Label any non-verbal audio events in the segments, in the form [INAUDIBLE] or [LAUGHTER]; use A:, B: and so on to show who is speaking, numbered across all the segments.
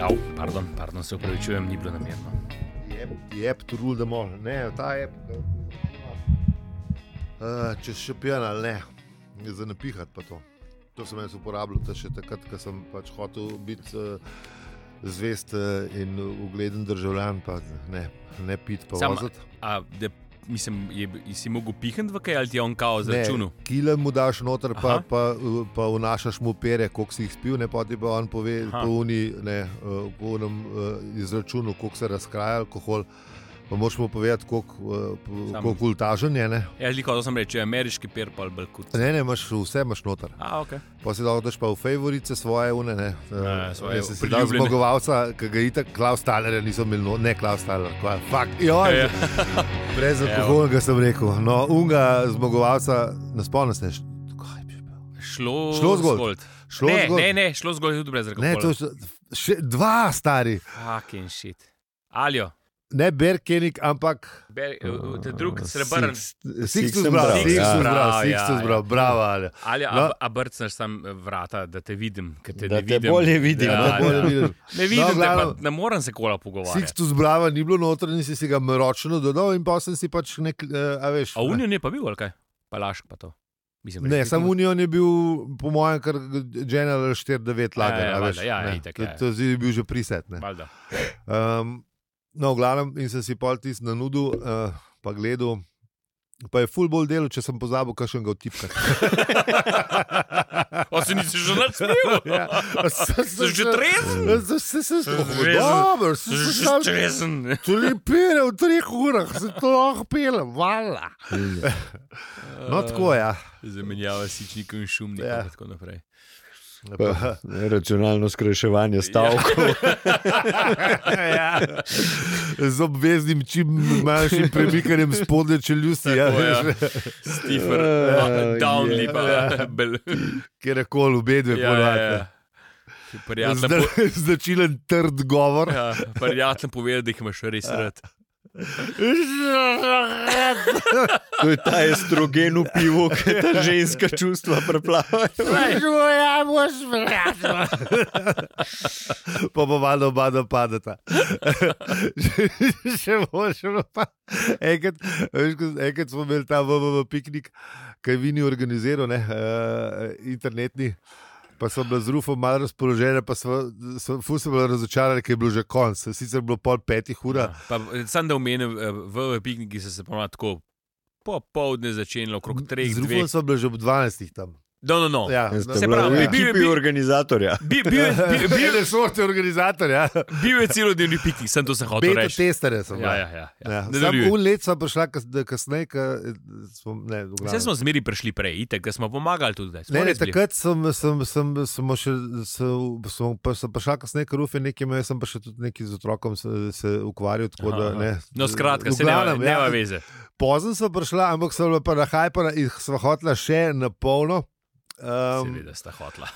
A: Au, pardon, pardon, se upravičujem, ni bilo namerno.
B: Je app to rule the mall, ne, ta je. Uh, če si še pijan ali ne, je za napihati pa to. To sem jaz uporabljal ta še takrat, ko sem pač hotel biti uh, zvest uh, in ugleden državljan, pa ne, ne pit pa
A: Sam-
B: voziti.
A: A, de, mislim, je, bi- si mogel pihniti v kaj ali ti je on kao zračunal?
B: Kile mu daš noter, pa,
A: Aha.
B: pa, uh, pa vnašaš mu pere, koliko si jih spil, ne pa ti pa on pove,
A: Aha.
B: po uni, ne, uh, po unem uh, izračunu, koliko se razkraja alkohol. Pa moš mu povedati, koliko uh, p-
A: Sam-
B: koliko ultažen je. Ne?
A: Jaz liko to Ja, sem rekel, ameriški per pa ali balkut.
B: ne, ne, imaš vse, imaš noter.
A: A, ok.
B: Pa si dal, daš pa v favorice svoje une, ne.
A: Ja,
B: Eh,
A: svoje
B: jaz sem si dal
A: priljubljene.
B: zmagovalca, ki ga itak Klaus Talerja niso imeli, no, ne Klaus Taler, kva, fuck, joj,
A: Ja,
B: ja. brez alkoholnega sem rekel. No, unga zmagovalca, ne spomnim se, š- kaj je bil.
A: Šlo,
B: Šlo zgolj. Šlo
A: ne,
B: zgolj-
A: ne, ne, šlo zgolj je tudi brez
B: Ne, to
A: alkohola.
B: so še dva stari,
A: Fucking shit. Aljo,
B: ne Berkenik, ampak.
A: ber, te drug srebrn.
B: Oh, Six
C: Sixtus
B: zbral,
C: bral,
B: Six
C: ja.
B: zbral,
A: Bral,
B: Six
A: ja, ja.
B: zbral, bravo. ali.
A: Ali
B: No.
A: no. abrcneš sam vrata, da te vidim, ker te
C: Da
A: ne
C: te
A: vidim.
C: bolje vidim,
A: Ja,
B: Ne,
C: da
A: ja.
C: bolje
B: bolj vidiš.
A: [LAUGHS] Ne vidim, no,
B: glavno-
A: pa, ne morem se kola pogovarjati.
B: Six tu zbrava ni bilo noter in si, si ga mročno dodal, in pa sem si pač nek, eh, a veš.
A: A unijo ne pa bil ali kaj? Pa lašk pa to. Mislim,
B: Ne, samo Union je bil, po mojem, kar General 4-9
A: Ja,
B: lager.
A: ja,
B: a
A: valjda,
B: veš,
A: ja,
B: ne.
A: itak,
B: To-
A: ja.
B: To zdaj je bil že priset. ne.
A: Valda.
B: Um, no, v glavnem, in sem si pol tisti na nudu, uh, pa gledal. Pa je full bolj delo, če sem pozabil, kakšen ga vtipka.
A: O, se nisi že nadspil?
B: ja, sem
A: Si že trezen?
B: Sem se
A: Že-
B: zdobil, sem se
A: Že
B: zdobil.
A: stresen.
B: Tudi pere v treh urah, se to lahko pelem, vala. No,
A: [LAUGHS]
B: tako ja.
A: Zamenjava sičnikov in šumnikov
B: Ja.
A: in tako naprej.
C: Pa, Računalno skrajševanje stavkov.
B: ja. Z obveznim, čim manjšim premikanjem spodne čeljusti, ja,
A: Tako, ja.
B: [LAUGHS] veš,
A: Stifer,
C: Ja,
A: down
C: ja.
A: lipa, bel.
B: kjer je kol,
A: Ja,
B: obedve
A: ja, ja.
B: ponovadi.
A: Prijatelj po-
B: [LAUGHS] Značilen trd
A: [LAUGHS]
B: govor.
A: ja, Prijatelj pove, da jih imaš res rad.
C: To je ta estrogen v
A: [LAUGHS]
C: pivu, ki ta ženska čustva preplavajo.
B: Ja, moš Pa pomalo oba dva padata. Še boš pa. Enkrat, veš, ko- enkrat smo imeli ta VVV piknik, ki je Vini organiziral, ne, eh, internetni. Pa so bila z rufom malo razpoložena, pa so, so fus bila razočarana, ker je bilo že konc. Sicer je bilo pol petih ura,
A: Pa, eh, Sam da omenim, eh, v pikniki se je ponovadi tako popovdne začenjalo, okrog treh,
B: z
A: dveh.
B: rufom so bila že ob 12 tam.
A: No, no, no.
B: Ja,
A: Se
C: Ste
A: pravi,
C: bili v
A: bil-
C: ekipi
A: bil-
C: organizatorja.
A: Bi- Bil je- bi- bil-
B: bile sorte organizatorja,
A: bil je celodnevni piknik, sem to se hotel
B: ja. beta
A: reči.
B: testere so.
A: Ja,
B: bila.
A: ja, ja, ja.
B: Ja,
A: Nadaljuj.
B: Sam un let sem prišla kas- da kasneje, ka, smo, ne, v
A: Vse
B: glavnem.
A: smo zmeri prišli prej, itek, da smo pomagali tudi. da smo
B: Ne, ne,
A: res bili.
B: takrat sem, sem, sem, sem, še, sem, sem, pa, sem prišla kasneje, ker rufe nekaj, imel, jaz sem pa še tudi nekaj z otrokom se, se ukvarjal. tako
A: Aha,
B: Da,
A: aha.
B: ne,
A: No, skratka,
B: V
A: se ne,
B: glavnem,
A: ne ja. veze.
B: Pozno sem prišla, ampak sem bila pa na hajpana in sva hotla še na polno.
A: Um,
B: Um,
A: Seveda sta hotla.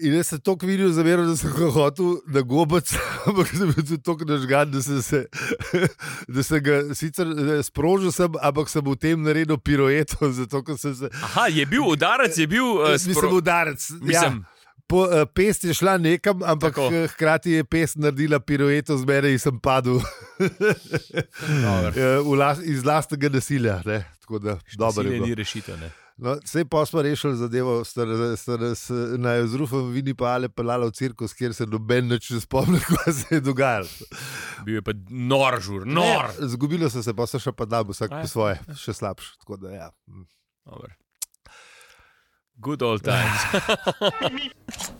B: in jaz sem toliko videl, zaveral, da sem ga hotel na gobec, [LAUGHS] ampak sem bil tudi toliko nažgan, da sem, se, [LAUGHS] da sem ga sicer eh, sprožil, sem, ampak sem v tem naredil piroeto, [LAUGHS] zato ker sem se
A: Aha, je bil udarec, je bil. Uh,
B: Jaz Mislim, udarec. Ja,
A: Mislim,
B: po, uh, pest je šla nekam, ampak
A: Tako.
B: Tako. hkrati je pest naredila pirueto z mene in sem padel [LAUGHS]
A: ja.
B: eh, v las, iz lastnega nasilja. Ne? Tako da, dobro je
A: Dobro, ni
B: bilo.
A: rešitev. Ne?
B: No, Vse pa smo rešili zadevo, star, star, star, naj z rufom vini pa ali pelala v cirkus, kjer se noben več ne spomni, [LAUGHS] kaj se je dogajalo.
A: Bil je pa nor, žur, nor.
B: Ne, Zgubilo se je, pa so še pa da, vsak
A: Aj.
B: po svoje, še slabše. tako da, Ja.
A: Dobro. Good old times. [LAUGHS]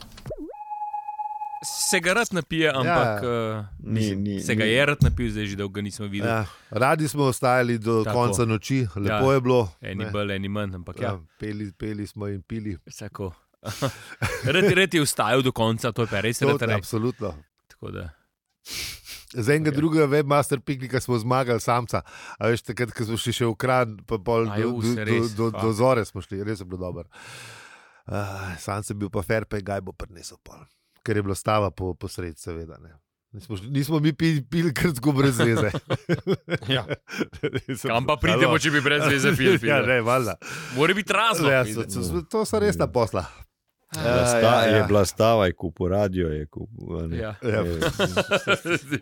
A: Se ga rad napije, ampak ja,
C: Ni, ni,
A: se ga
C: ni.
A: je rad napil, zdaj že dolgo nismo videli. Ja.
B: Ja. Radi smo ostajali
A: Tako.
B: do Tako. konca noči, lepo
A: Ja.
B: je bilo.
A: Eni
B: ne.
A: bolj, eni manj, ampak ja,
B: Ja, peli, peli smo in pili.
A: vsako. [LAUGHS] Red, red je vstajal do konca, to je pa res
B: To,
A: red. red.
B: absolutno.
A: Tako da.
B: Z enega
A: Ja.
B: okay. drugega webmaster piknika smo zmagali samca. A veš, takrat, ko smo šli še v kran, pa pol
A: Aj,
B: do,
A: us,
B: do, do,
A: res,
B: do,
A: fuck.
B: do zore smo šli, res je bilo dobro. Uh, sam sem bil pa fair, pa ga bo prinesel pol, ker je bila stava po, po sredi, seveda. Ne. Nismo, šli- nismo mi pili, pili krtko brez veze.
A: [LAUGHS] Ja.
B: Nisem-
A: Kam pa pridemo,
B: Halo.
A: če bi
B: [LAUGHS]
A: brez veze pil?
B: Ja,
A: Ja,
B: ne, Ja, valjda.
A: Mora biti razlog. Mm.
B: Ja, so- so- so- to so resna posla.
C: Bila sta,
B: Ja, ja.
C: Je bila stava, je kupil radio. Je kupil, a ne.
A: Ja.
B: Ja.
A: [LAUGHS]
C: Je,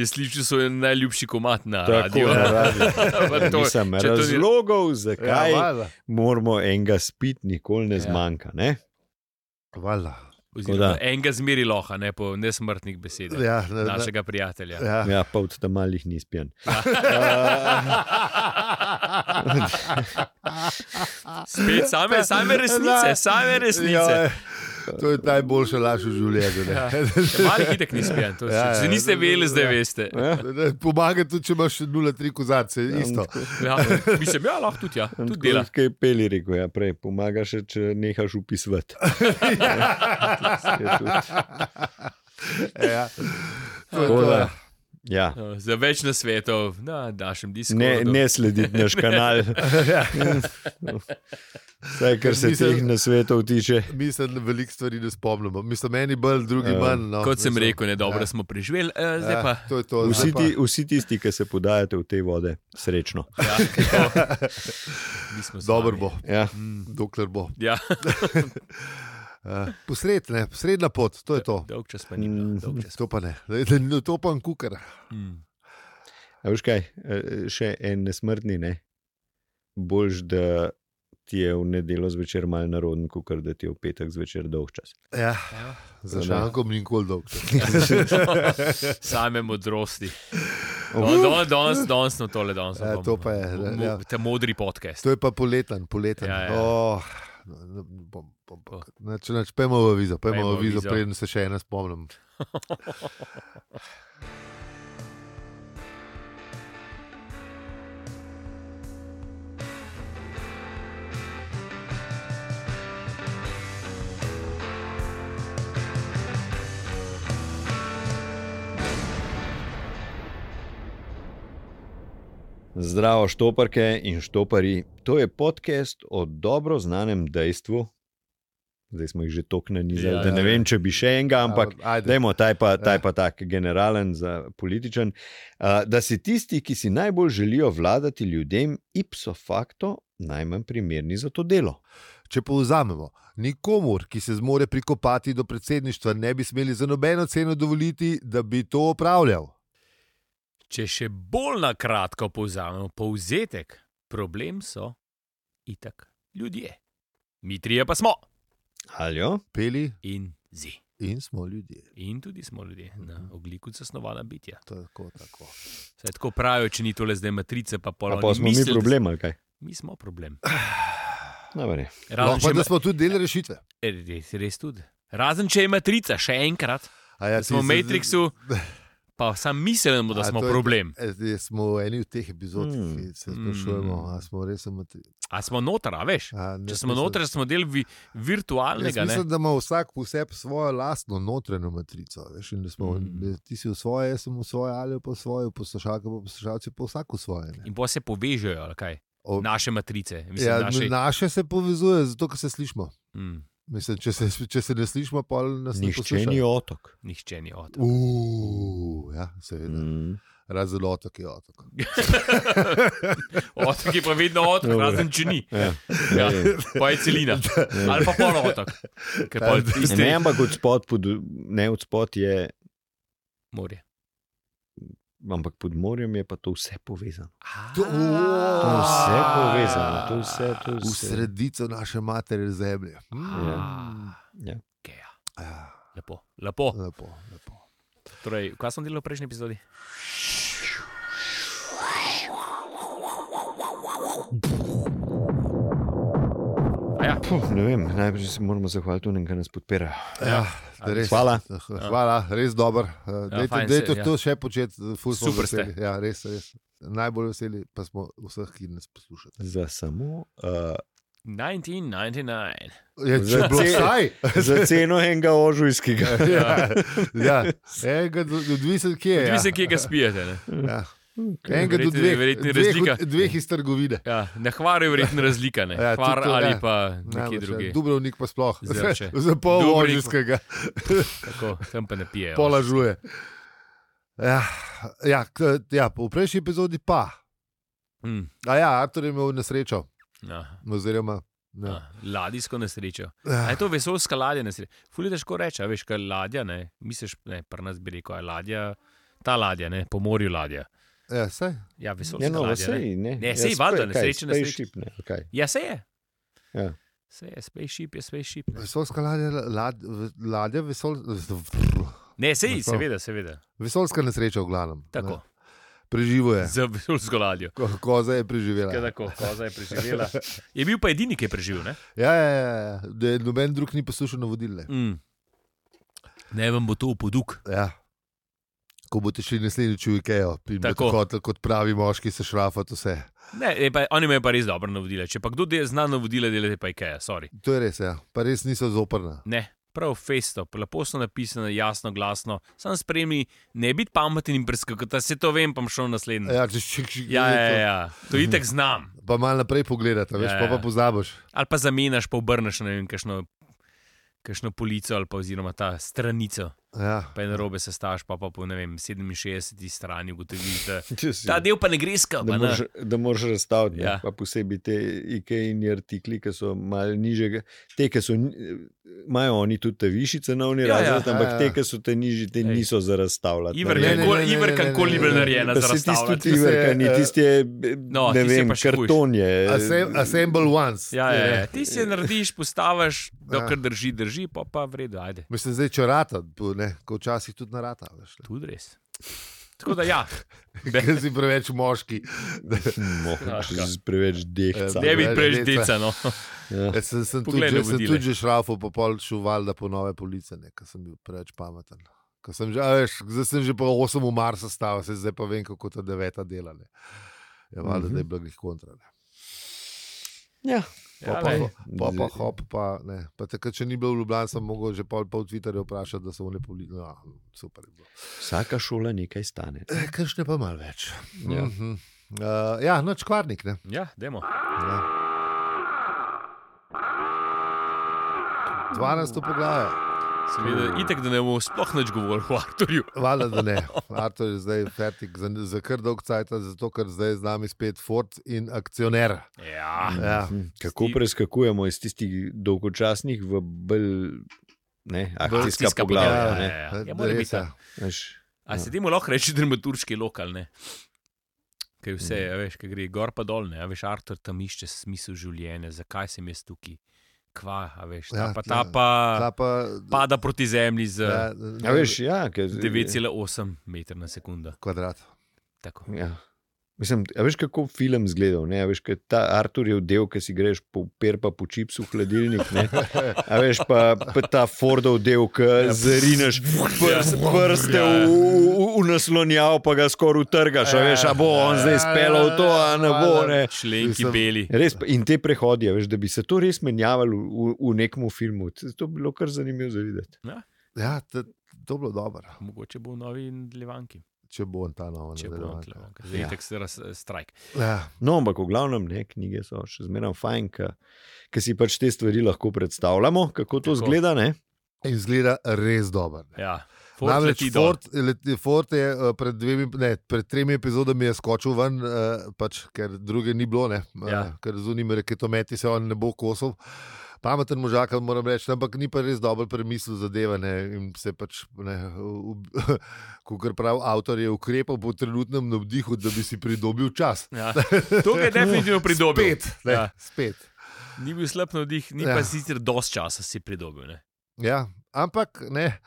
A: Je slišal svoj najljubši komat na
C: tako
B: ja.
A: radiju. [LAUGHS]
C: je na radiju.
A: Pa to-
C: Nisem
A: če to ni-
C: razlogov, zakaj
B: Ja,
C: ja,
B: valjda.
C: moramo enega spiti, nikoli ne
A: Ja.
C: ja. zmanjka. Ne?
B: Valjda.
A: Oziroma,
C: da.
A: enega zmeri loha, ne po nesmrtnih besedah. Ja.
B: Ja, ne, ne,
A: Našega prijatelja. Ja.
B: ja.
C: Ja, pa od tam malih ni spijan.
A: Spet
B: [LAUGHS]
A: same, same resnice,
B: Da.
A: same resnice. Ja.
B: Joj, Ja, To je najboljša laž v življenju. ne.
A: Mali hitek ni spijan, to
B: [LAUGHS] Ja,
A: ja, se
B: ja.
A: niste vedeli, zdaj
B: Ja.
A: veste.
C: Ja.
B: Ne, Pomaga tudi, če imaš 0,3 kozarce, isto.
A: Ja, mislim, ja, lahko tudi, ja, tudi dela.
C: Kaj je peli, rekel je, ja, prej pomaga še, če nehaš upisovati.
B: Ja. To je
C: Tako
B: to,
C: da,
B: ja.
C: Ja.
A: No, Za več na svetu, na našem disku.
C: Ne, ne slediti
B: [LAUGHS]
C: naš kanal. Vsaj, kar se
B: Ja. Mislim-
C: teh na svetu tiče.
B: Mislim, da veliko stvari ne spomnimo. Mislim, meni bolj, drugi
C: Ja.
B: manj. No.
A: Kot sem
B: Mislim,
A: rekel, ne, dobro
B: ja.
A: ja. smo preživeli, eh, zdaj
B: ja,
A: pa.
B: To je to.
C: Vsi,
B: zdaj pa-
C: ti, vsi tisti, ki se podajate v te vode, srečno.
A: Ja, to, mi smo s vami.
B: Dobro bo,
C: Ja.
A: Mm,
B: dokler bo.
A: ja,
B: Uh, posred, ne, posredna pot, to je to.
A: dolg čas pa ni
B: Mm.
A: bilo. dolg čas.
B: To pa ne, Ne, ne, to pa je kukar.
A: Mm.
C: A veš kaj, e, še en nesmrtni, ne? Boljš, da ti je v nedeljo zvečer mal naroden, kot da ti je v petek zvečer dolg čas.
B: Ja,
A: Ja.
B: za šankom nikoli dolg.
A: [LAUGHS] Same modrosti. Don, don, danes, danes, no tole danes.
B: Ja,
A: bom-
B: to pa je,
A: bom-
B: ja.
A: Te modri podcast.
B: To je pa poleten, poleten.
A: Ja, ja.
B: Oh, no, no, bom- bom- bom- ne, Če neč, pojmo v vizo,
A: Pojdimo
B: pojmo
A: v
B: v vizo,
A: avizo.
B: preden se še ena spomnim.
C: Zdravo, štoparke in štopari. To je podcast o dobro znanem dejstvu. Zdaj smo jih že toliko nanizali,
A: Ja,
C: ja, da ne
B: ja,
C: vem, če bi še enega, ampak
B: A, ajde.
C: Dajmo, taj pa, taj pa tak generalen, za političen. Uh, da si tisti, ki si najbolj želijo vladati ljudem, ipso facto najmanj primerni za to delo.
B: Če povzamemo, nikomur, ki se zmore prikopati do predsedništva, ne bi smeli za nobeno ceno dovoliti, da bi to opravljal.
A: Če še bolj na kratko povzamemo povzetek, problem so itak ljudje. Mi trije pa smo
C: Ali jo?
B: Peli
A: in zi.
B: in smo ljudje.
A: In tudi smo ljudje, na
B: Mhm.
A: ogliku zasnovana bitja.
B: Tako, tako.
A: Saj tako pravijo, če ni tole zdaj matrice, pa no,
C: A
A: polo.
C: pa smo mi problem ali kaj? No,
A: Mi smo
B: [LAUGHS]
A: problem.
C: Dobre.
A: Razen,
B: Lahko
A: če
B: No, pa, da
A: ima, E,
B: smo tudi del rešitve.
A: res, res tudi. Razen če je matrica, še enkrat.
B: A Ja,
A: Da smo
B: ti
A: v
B: se-
A: Matrixu,
B: [LAUGHS]
A: pa sam mislimo, da
B: A,
A: smo
B: to je-
A: problem.
B: E, zdaj Smo v eni od teh epizod,
C: Mm.
B: ki se
A: Mm.
B: sprašujemo, ali smo res amatri.
A: A smo noter, a veš?
B: A, ne,
A: Če smo
B: Ja, mislim-
A: noter, smo del vi,
B: Jaz
A: virtualnega. ne.
B: Mislim, da ima vsak vse svojo lastno notranjo matrico. Veš, in da smo,
A: Mm.
B: mm. da ti si v svoje, jaz sem v svoje, ali pa v svoje, poslušalke pa poslušalci, pa vsak v svoje. ne.
A: In pa se povežejo, ali kaj?
B: O-
A: Naše matrice. Mislim,
B: Ja,
A: naše,
B: naše... naše se povezuje, zato ker se slišimo.
A: Mm,
B: Mislim, če, se, če se ne slišimo, pa nas ne
C: Nihče ni
B: poslušajo.
C: otok.
A: nihče ni od.
B: Uuu, Ja, seveda. Mm.
C: Mm.
B: Razen otok je otok.
A: Otok je pa vedno otok,
C: Dobro.
A: razen če ni.
C: Ja.
A: Ja,
C: [LAUGHS] Ja.
A: pa je celina. Ali pa polno otok. Ker pa je
C: Ne,
A: tisti
C: Ne, ampak od spod, pod, ne od spod je,
A: morje.
C: ampak pod morjem je pa to vse povezano.
B: To-
C: To je vse
B: Ah.
C: povezano, to je vse. To je
B: V
C: vse.
B: sredico naše matere zemlje. Mm.
C: Ja.
A: Ja.
C: Ja.
A: Ja.
B: Ja,
A: Lepo, lepo.
B: lepo, lepo.
A: Torej, kaj sem delal v prejšnji epizodi? A Ja,
C: Puh, ne vem, najprej se moramo zahvaliti unem, ki nas podpira.
B: Ja, res,
C: Hvala.
B: Hvala, res dober.
A: Ja, fajn
B: Dajte
A: se-
B: ja, to še početi, ful smo
A: Super ste.
B: veseli. Ja, res, res. Najbolj veseli pa smo vseh, ki nas poslušate.
C: Za samo uh,
A: 1999.
B: Ja, če
C: Za
B: je bilo
C: cel-
B: vsaj,
C: Za ceno enega ožujskega.
B: ja, [LAUGHS] ja. enega do- odvisen kje je.
A: Ja.
B: Ja.
A: Vi se kje ga spijete. Ne?
B: Ja. Enega do
A: Verjetno-
B: dveh,
A: verjetno je
B: dveh,
A: razlika.
B: od- dveh iz trgovine.
A: Ja, na hvaru je verjetno razlika, ne
B: Ja,
A: ja, hvar
B: tudi to,
A: ali
B: ja.
A: pa nekje
B: Največ, ja.
A: druge.
B: Dubrovnik pa sploh, [LAUGHS]
A: Zrče.
B: za pol
A: Dubrovnik.
B: ožijskega,
A: Tako, tam pa ne pijejo.
B: pola žuje. Ja, ja, k- ja, po prejšnji epizodi pa.
A: Mm,
B: A ja, Artur je imel nesrečo,
A: ja.
B: oziroma Ja.
A: Ah, Ladijsko nesrečo. A
B: Ah,
A: je to vesoljska ladja nesreča? Fulje težko reči, a veš, kaj je ladja, ne? Misliš, ne, pri nas bi rekel, a je ladja, ta ladja, ne, po morju ladja.
B: Ja, saj.
A: Ja, vesoljska
C: Ja, no,
A: ladja. ne.
C: sej, ne.
A: Ne, saj valjda, nesreče, nesreče.
C: Šip, ne, ali
A: [LAUGHS]
C: kaj.
A: Ja, se je.
C: Ja.
A: Se je, spaceship je spaceship. Ne,
B: Vesolska ladja, lad, v- ladja vesol,
A: ne se je,
B: Zato.
A: seveda, seveda.
B: vesolska nesreča, v glavnem.
A: Tako,
B: Preživel je,
A: za vesoljsko ladjo.
B: Ko, koza je
A: Ja,
B: preživela.
A: tako, koza je preživela. Je bil pa edini, ki je preživel, ne?
B: Ja, ja, ja, ja. da je noben drug ni poslušal navodil. ne.
A: Mm. Ne vem, bo to v poduk.
B: Ja. Ko boste šli naslednjič v Ikejo, in boste
A: Tako.
B: hotel kot pravi moški se šrafati vse.
A: Ne, je pa, oni imajo pa res dobro navodila. Če pa kdo de, zna navodila, delate pa IKEA, sorry.
B: To je res, ja. pa res niso zoprna.
A: Ne, prav festo, lepo so napisane, jasno, glasno, sam spremlji, ne biti pameten in preskakati, se to vem, pa bom šel naslednji.
B: Ja, če če če
A: Ja, ja, ja, ja, to itek znam.
B: Pa malo naprej pogledati, veš,
A: Ja,
B: pa,
A: ja.
B: pa pozabiš.
A: Ali pa zamenjaš, pa obrneš na ne vem, kakšno, kakšno polico ali pa oziroma ta stranico,
B: Ja.
A: pa je na robe sestaš, pa pa po ne vem, 67 strani ugotoviš, da
C: Če si-
A: ta del pa ne gre skrbno.
C: Da moraš, da moraš razstaviti,
A: Ja.
C: ja. pa posebej te IKEA-ni artikli, ki so malo nižjega. Te, ki so, ni- imajo oni tudi te višji cenovni
A: Ja,
C: ja,
A: ja.
C: razred, ja, ampak
B: Ja, ja.
C: ja. te, ki so te nižji, te
A: Ej.
C: niso za razstavljati.
A: Iver,
B: Ne, ne,
A: kako-
B: ne, ne,
A: Iver,
B: ne,
A: kako
B: ne, ne,
A: liber
B: ne.
A: narejena
C: Pa
A: za
C: saj tisti
A: razstavljanje.
C: tudi
B: Tisti se,
C: Iver,
B: eh,
C: ni tisti, je,
A: No,
C: no, ne
A: tisti je
C: vem,
A: pa še hujše.
C: karton je. eh,
B: Asem- Assemble once.
A: E, Ja, ja, ja.
B: Je.
A: Ti si narediš, postaviš, dokler
B: Ja.
A: drži, drži, pa pa vredno, ajde.
B: Mislim, zdaj če rata, bo, ne, ko včasih tudi narata. Veš, ne.
A: Tudi res. Tako da
B: [LAUGHS]
A: ja,
B: Ker si preveč moški.
C: [LAUGHS]
A: Kraška.
C: Mogoče si preveč dehca.
A: Ja, ne bi
B: več
A: preveč
B: deca.
A: deca. No.
C: Ja.
B: Jaz E, sem, sem tudi
A: Poglej
B: že,
A: na
B: sem
A: vodile.
B: tudi že šrafal, pa pol šuval, da po nove police, ne, ker sem bil preveč pameten. Ko Sem že, a veš, zdaj sem že po 8. marca stavil, saj zdaj pa vem, kako ta deveta dela. Ne. Je valjda,
A: Mhm.
B: da je bilo njih kontra. Ne.
C: Ja.
A: Ja,
B: Pa, pa,
A: lej.
B: pa, pa, hop, pa, ne. pa takrat, če ni bil v Ljubljani, sem mogel že pol, pol Twitterja vprašati, da so oni polici. No, super. Je bilo.
C: Vsaka šola nekaj stane.
B: Eh, Kakšne pa malo več. Ja,
C: Ja.
B: uh, ja noč kvarnik. Ne.
A: ja demo.
B: Ja. 12. poglavje.
A: Seveda, itek, da ne bomo sploh nič govorili o Arturju.
B: Hvala, da ne. Artur je zdaj fertik za, za kar dolg cajt, zato ker zdaj je z nami spet Ford in akcioner.
A: Ja,
B: Ja.
C: Kako
A: Sti-
C: preskakujemo iz tistih dolgočasnih v bolj ne,
A: bolj
C: akcijska
A: stiska
C: poglavja.
A: podjetja,
C: ne.
A: ja,
B: Eh,
A: ja. Ja, mora biti, ja.
C: Veš,
A: A
B: Ja.
A: se temu lahko reče dramaturški lokal, ne? Kaj vse,
B: Mm.
A: a veš, kaj gre gor pa dol, ne? A veš, Artur tam išče smisel življenja, zakaj sem jaz tukaj, kva, a veš, ta
B: Ja,
A: pa, ta
B: ja.
A: pa
B: Ta pa,
A: pada proti zemlji z
B: ja,
C: Ja, veš, ja, ker,
A: 9,8 metra na sekundo.
B: kvadrat.
A: Tako.
C: Ja. Mislim, a veš, kako film zgledal? Ne? A veš, kaj ta Arturjev del, ki si greš po perpa po čipsu v hladilnik. Ne? A veš, pa, pa ta Fordov del, ki zarineš prst, prste v, v, v naslonjav, pa ga skoraj utrgaš. A veš, a bo on zdaj spelo v to, a ne bo.
B: Ja,
C: Ne?
A: Členki
B: Mislim-
A: beli.
C: Res, pa- in te prehodi, a veš, da bi se to res menjavalo v, v, v nekem filmu. To bi bilo kar zanimivo za videti.
B: Ja, to, to bilo dobro,
A: Mogoče bo v novi levanki,
B: če bo on ta nov.
A: če bo
B: nadaljevanka.
A: levanka. Zdaj je
C: Ja.
A: tako se raz eh, strajk.
B: Ja,
C: No, ampak v glavnem ne, knjige so še zmeraj fajn, ker si pač te stvari lahko predstavljamo, kako to
A: Tako.
C: izgleda. Ne?
B: in zgleda res dober. ne.
A: Ja. Ford
B: Namreč
A: leti dol.
B: Ford, leti, Ford je eh, pred, dvemi, ne, pred tremi epizodami je skočil ven, eh, pač, ker druge ni bilo, ne, eh,
A: Ja.
B: ker z unimi raketometi se on ne bo kosov. Pameten možak, moram reči, ampak ni pa res dobro premislil zadeve. Ne, in se pač, [LAUGHS] kot pravi avtor, je ukrepal po trenutnem navdihu, da bi si pridobil čas. [LAUGHS]
A: Ja. To ga je definitivno pridobil.
B: Spet, ne,
A: Ja.
B: ja. spet.
A: Ni bil slab na vdih, ni
B: Ja.
A: ja. pa sicer dosti časa si pridobil. Ne?
B: Ja, ampak ne.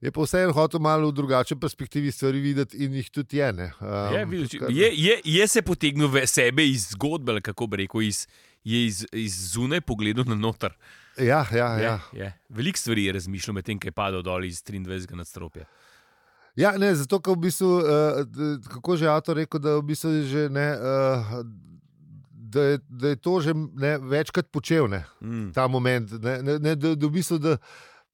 B: Je pa vseeno hotel malo v drugačni perspektivi stvari videti, in jih tudi je. Ne, um,
A: Je, videl, če- je, je, je se potegnil v sebe iz zgodbe, ali kako bi rekel, iz, je iz, iz zunaj pogledal na noter.
B: Ja, ja,
A: Je,
B: ja.
A: je. Veliko stvari je razmišljal, medtem ko je padel dol iz 23. nadstropja.
B: ja ne, zato, ker v bistvu, uh, kako že avtor rekel, da, v bistvu je že, ne, uh, da, je, da je to že ne, večkrat počel, ne,
A: Mm.
B: ta moment. Ne, ne, ne, da, da, v bistvu, da,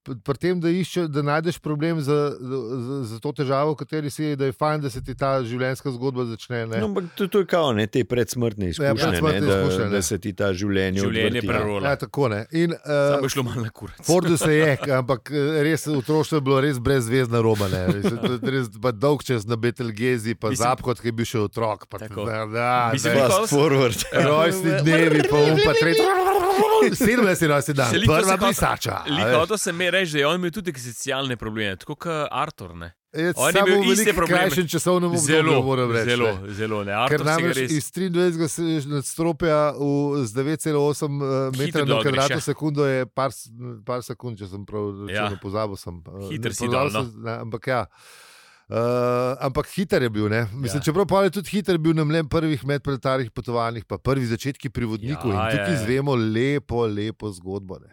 B: pri- pri tem, da, išče, da najdeš problem za, za, za to težavo, v kateri si, je, da je fajn, da se ti ta življenjska zgodba začne. Ne.
C: No, ampak to, to je kao, ne, te predsmrtne izkušnje,
B: Ja, predsmrtne
C: ne, da,
B: izkušnje,
C: izkušnje
B: ne.
C: da se ti ta življenje,
A: Življenje
C: odvrti,
A: prerola.
B: Ja, tako ne. In,
A: Sam
B: uh,
A: je šlo malo na kurac.
B: Fordu se je, ampak eh, res otroštvo je bilo res brezvezna roba. ne. Mislim, to je Res, pa dolg čas na Betelgezi, pa
A: Mislim-
B: zapkot, ki je bil še otrok. Pa,
A: Tako.
B: da, da,
A: Mislim,
B: da,
A: da-
C: Fast forward.
B: rojstni dnevi, pa um pa Ja, tretji. 17 je nosil dan,
A: Se lik to se
B: prva
A: hotel-
B: brisača. a veš.
A: Liko, to se mi reče, da je on imel tudi eksistencialne probleme, tako kot Artur. Ne?
B: Jaz
A: On je
B: samo
A: imel
B: v
A: iste
B: veliko
A: probleme.
B: krajšem časovnem obdobju moram reči. ne.
A: zelo, zelo ne. Artur se
B: Ker
A: ga
B: namreč
A: res.
B: iz 23 se- nadstropja v- z 9,8
A: Hitro
B: eh, metra na
A: dol greš,
B: kvadratno
A: ja.
B: sekundo je par, s- par sekund, če sem prav
A: Ja.
B: ja. pozabil. Sem, eh,
A: Hiter
B: ne,
A: si
B: pozabil
A: dol, no.
B: sem, ne, ampak ja. Uh, ampak hiter je bil. ne.
A: Ja.
B: Mislim, ja. Čeprav pa je tudi hiter bil na mlem prvih medpretarih potovanjih, pa prvi začetki pri vodniku.
A: Ja,
B: Ja, in tukaj
A: je.
B: izvemo lepo, lepo zgodbo. Ne.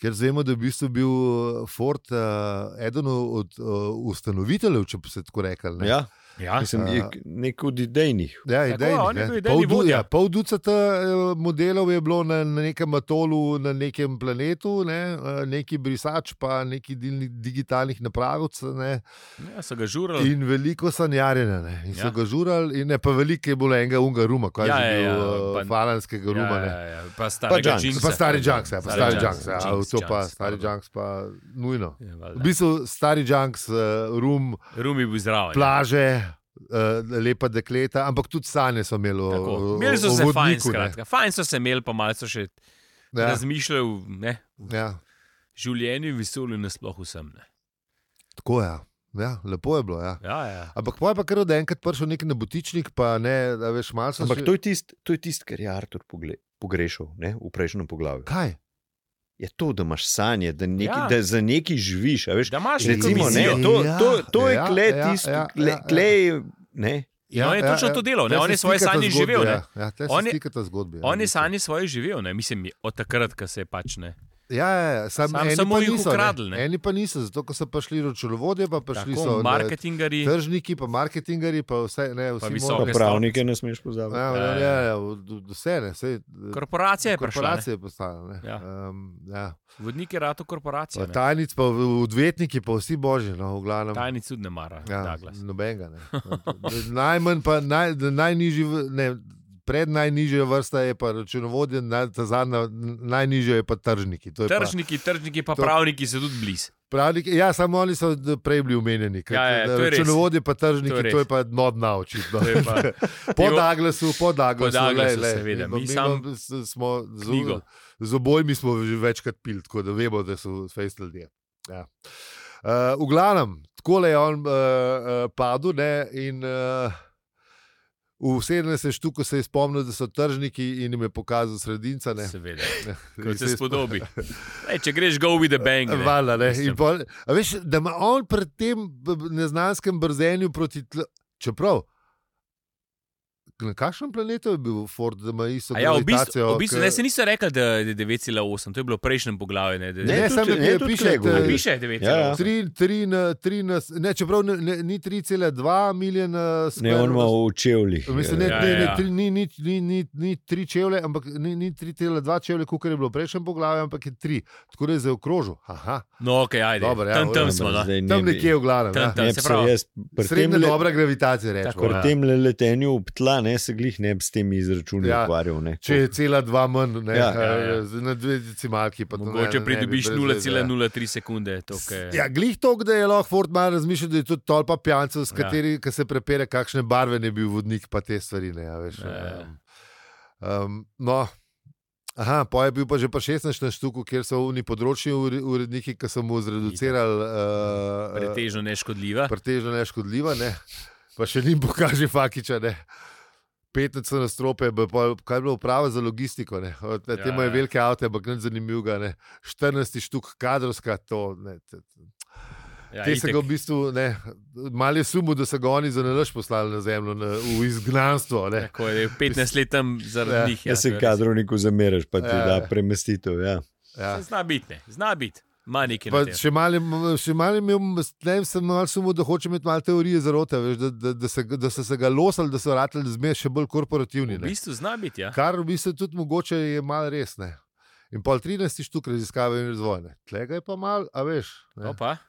B: Ker znamo, da je v bistvu bil eh, Ford uh, eden od uh, ustanoviteljev, če bi se tako rekel. ne.
C: Ja,
A: Ja.
C: mislim, je
B: A-
C: k- nek od idejnih.
B: Ja,
A: Tako,
B: idejnih,
A: on je
B: ne.
A: bil idejni
B: pol, du,
A: vodja.
B: ja, pol ducata eh, modelov je bilo na, na nekem atolu, na nekem planetu, ne, eh, neki brisač, pa neki dilni- digitalnih napravic. Ne,
A: ja, so ga žurali.
B: in veliko sanjarjenja. Ne, in so
A: Ja.
B: ja. ga žurali, in ne, pa veliko je bilo enega unga ruma, kaj
A: Ja,
B: ja,
A: ja,
B: je
A: ja,
B: bilo,
A: pa-
B: ja, falanskega ja, ruma.
A: ja,
B: Ne.
A: ja, ja. pa starega
C: Junks.
A: Jinxa.
B: Pa stari Junks, ja, pa
A: Stari
B: stari
A: Junks,
B: Junks, ja,
A: Jinx,
B: to pa
A: Junks,
B: stari
A: pardon.
B: Junks, pa nujno.
A: Ja,
B: V
A: valjda.
B: bistvu stari Junks, eh, rum,
A: Rum je bil zraven. ja.
B: plaže, eh, lepa dekleta, ampak tudi sanje so imeli. o-
A: Tako.
B: o-
A: Imeli so
B: o
A: se fajn,
B: vodniku, ne.
A: skratka. Fajn so se imeli, pa malo so še ja.
B: Ja,
A: razmišljali ne, v
B: ja,
A: življenju, vesolju in nasploh vsem. Ne.
B: tako je. Ja, lepo je bilo. Ja.
A: Ja, ja.
B: Ampak poj pa kar od enkrat prišel nek nebotičnik, pa ne, da veš, malo so
C: Ampak
B: že-
C: to je tisto, tist, kar je Artur pogle- pogrešal ne, v prejšnjem poglavju.
B: Kaj?
C: Je to, da imaš sanje, da, neki,
A: Ja.
C: ja. da za neki živiš. a Veš,
A: Da imaš neko
C: recimo, ne,
A: vizijo.
C: to, to, to je
B: Ja,
C: kle
B: ja,
C: tisto,
B: ja,
C: kle,
B: ja, ja.
C: kle, je, ne.
A: Ja, on je točno to delal, ne,
B: Te
A: on
B: se
A: je svoje
B: stikata
A: sanje
B: zgodbe,
A: živel, ne.
B: Ja, ja, te se
A: On je-
B: stikata zgodbi, ja,
A: On je
B: v bistvu.
A: sanje svoje živel, ne? mislim, je- od takrat, ko se je pač ne.
B: Ja, ja, ja, sam,
A: Sam
B: eni
A: samo
B: pa
A: jih
B: niso,
A: ukradli, ne.
B: Ne. Eni pa niso, zato ko so prišli računovodje, pa prišli
A: Tako
B: so market...
A: marketingari.
B: tržniki, pa marketingari, pa vse, ne, vsi
A: visoke
B: morajo-
A: stopnje.
C: Pravnike ne smeš pozabiti.
B: Ja, ja, ja, ja, v- v- vse ne, vse.
A: Korporacija je prišla. ne.
B: Korporacije je postala.
A: Ja.
B: Ja. Um, ja.
A: Vodnik je rado korporacija.
B: Pa Tajnic, pa odvetniki, pa vsi božji, no, v glavnem.
A: Tajni cud ne mara.
B: Ja,
A: Douglas.
B: nobenega. ne. [LAUGHS] Najmanj pa naj, najnižji, v- ne, pred najnižjo vrsta je pa računovodje, naj, ta zadnja, najnižja je pa tržniki. To je
A: Tržniki, tržniki, pa
B: to-
A: pravniki so tudi blizu.
B: Pa pravniki, ja, samo oni so d- prej bili omenjeni. ker
A: Ja, ja, to je res.
B: računovodje pa
A: To je
B: tržniki, to
A: res.
B: je, to je pa nobna očitno.
A: To je pa-
B: [LAUGHS] Po
A: Evo-
B: Daglasu, po Daglasu,
A: Po Douglasu, seveda. Mi
B: Mi,
A: sam-
B: imamo- s- smo z,
A: knjigo.
B: z obojmi smo že večkrat pil, tako da vemo, da so fejst ljudje. Ja. Uh, v glavnem, tako je on uh, uh, padel ne, in uh, v 17 štuku se je spomnil, da so tržniki in jim je pokazal sredinca. Ne.
A: Seveda,
B: In
A: kot
B: se
A: se
B: je
A: spodobi.
B: [LAUGHS]
A: Ej, če greš, go with the bang. ne.
B: Vala, ne.
A: Mislim.
B: In pol, a veš, da ima on pred tem b- b- neznanskem brzenju proti tlu. Čeprav. Na kakšnem planetu je bil Ford, da ima isto
A: A Ja, v bistvu,
B: gravitacijo,
A: v bistvu
B: ke-
A: ne, se niso rekli, da je 9,8, to je bilo v prejšnjem poglavju. Ne, da,
B: Ne,
A: da,
C: tudi-
B: samo nekje
C: tudi
B: piše,
C: tule
B: da-
C: govori.
A: piše 9,8.
C: Ja, ja.
B: Tri, tri, na, tri na, s- ne, čeprav ne, ne, ni 3,2 milijona
C: Ne, on ima v čevljih. eh,
B: Mislim, ne,
A: Ja,
B: ja, ne,
A: ja,
B: ne,
A: ja.
B: tri, ni, ni, ni, ni, ni tri čevlje, ampak ni, ni 3,2 čevlje, kot je bilo v prejšnjem poglavju, ampak je tri. Tako da je zaokrožil. Aha,
A: No, ok, ajde.
B: Dobro, ja,
A: tam, tam
B: dobro,
A: smo. No.
C: Zdaj
B: tam
C: ne bi-
B: nekje v glavu.
A: Tam,
B: Ja.
A: tam.
C: Ne
A: se
C: bi se
A: pravi.
C: jaz pri tem
B: Srednja
C: le-
B: dobra gravitacija, rečemo.
A: Tako,
C: Pri
B: ja.
C: tem le- letenju ob tla ne, se glih ne bi s temi izračuni
B: Ja.
C: ukvarjal. Ne.
B: Če je cela dva manj, ne,
C: Ja,
B: ja,
A: ja, ja.
B: ja, ja. na dve decimalki. pa to ne-
A: Mogoče
B: ne bi
A: pridobiš
B: brez veze, ja.
A: 0,03 sekunde. To, kaj...
B: Ja, glih to, da je lahko Ford malo razmišljal, da je to tolpa pijancev, s
A: Ja.
B: kateri ja. se prepere, kakšne barve ne bi bil vodnik, pa te stvari. Ne, ja, veš,
A: Ja, ja.
B: um, um, no. Aha, pa je bil pa že pa 16 na štuku, kjer so oni področni ure- uredniki, ki so mu zreducirali uh, uh,
A: Pretežno neškodljiva.
B: pretežno neškodljiva, ne? pa še njim pokaže Fakiča. Ne? Petnico na strope, pa pol- kaj je bilo uprava za logistiko. Ne? Od-
A: Ja,
B: Temu je
A: ja.
B: velike avto, ampak nič zanimivega. Ne? 14 štuk kadrovska, to ne. te-
A: Ja,
B: Te se
A: itak.
B: ga v bistvu, ne, malo je sumil, da so ga oni za nalož poslali na zemljo, na, v izgnanstvo. Ne.
A: Tako je, 15 let tam zaradi
B: Ja,
A: njih.
C: Ja,
A: to
C: se
A: je res.
C: kadrovniku zameraš, pa ti
B: Ja,
C: da
B: ja.
C: premestitev. Ja.
B: Ja.
A: Zna biti, ne. zna biti. Ma nekaj
B: Pa
A: na tem.
B: Še malo je- še malo je imel, ne, sem malo sumil, da hoče imeti malo teorije zarote, veš, da, da, da, se, ga- da so se ga losali, da so ratali zmeraj še bolj korporativni.
A: V
B: Ne.
A: bistvu zna biti, ja.
B: Kar v bistvu tudi mogoče je malo resne. In pol 13 štuk raziskave in razvojne. Tlega je pa malo, a veš. ne.
A: Opa,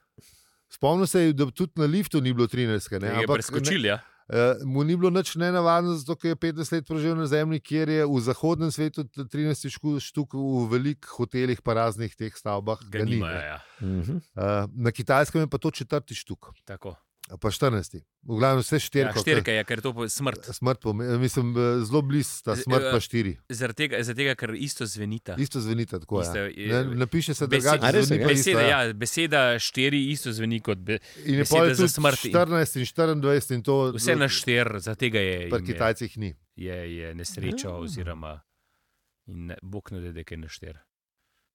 B: Spomnim se, da tudi na liftu ni bilo 13. Ne,
A: ne, je
B: ampak-
A: preskočil, ja.
B: Eh, mu ni bilo nič nenavadno, zato ker je 15 let preživel na zemlji, kjer je v zahodnem svetu t- 13 šku- štuk v velikih hotelih, pa raznih teh stavbah.
A: Ga nimajo,
B: ne.
A: ja.
C: Mhm.
B: Eh, Na kitajskem je pa to četrti štuk.
A: Tako.
B: ali pa 14. V glavnem vse
A: Ja,
B: štirke.
A: štirka je, ker to je smrt.
B: Smrt, pome- mislim, eh, zelo blizu sta
A: Z-
B: smrt,
A: eh,
B: pa štiri.
A: Zaradi tega, zaradi tega, ker isto zvenita.
B: Isto zvenita tako. Ja.
A: Isto je-
B: Ne, Napiše se
A: Besed-
B: drugače,
C: A res,
B: zveni
C: ja?
B: pa isto,
A: Beseda, ja, beseda štiri isto zveni kot be,
B: In je
A: beseda
B: pol
A: za
B: tudi
A: smrt in-
B: 14 in 24 in to no,
A: vse na štir, za tega je.
B: Pri Ah.
A: in je,
B: Kitajcih ni.
A: je, je nesreča, oziroma in ne- Bog ne da, kaj na štir.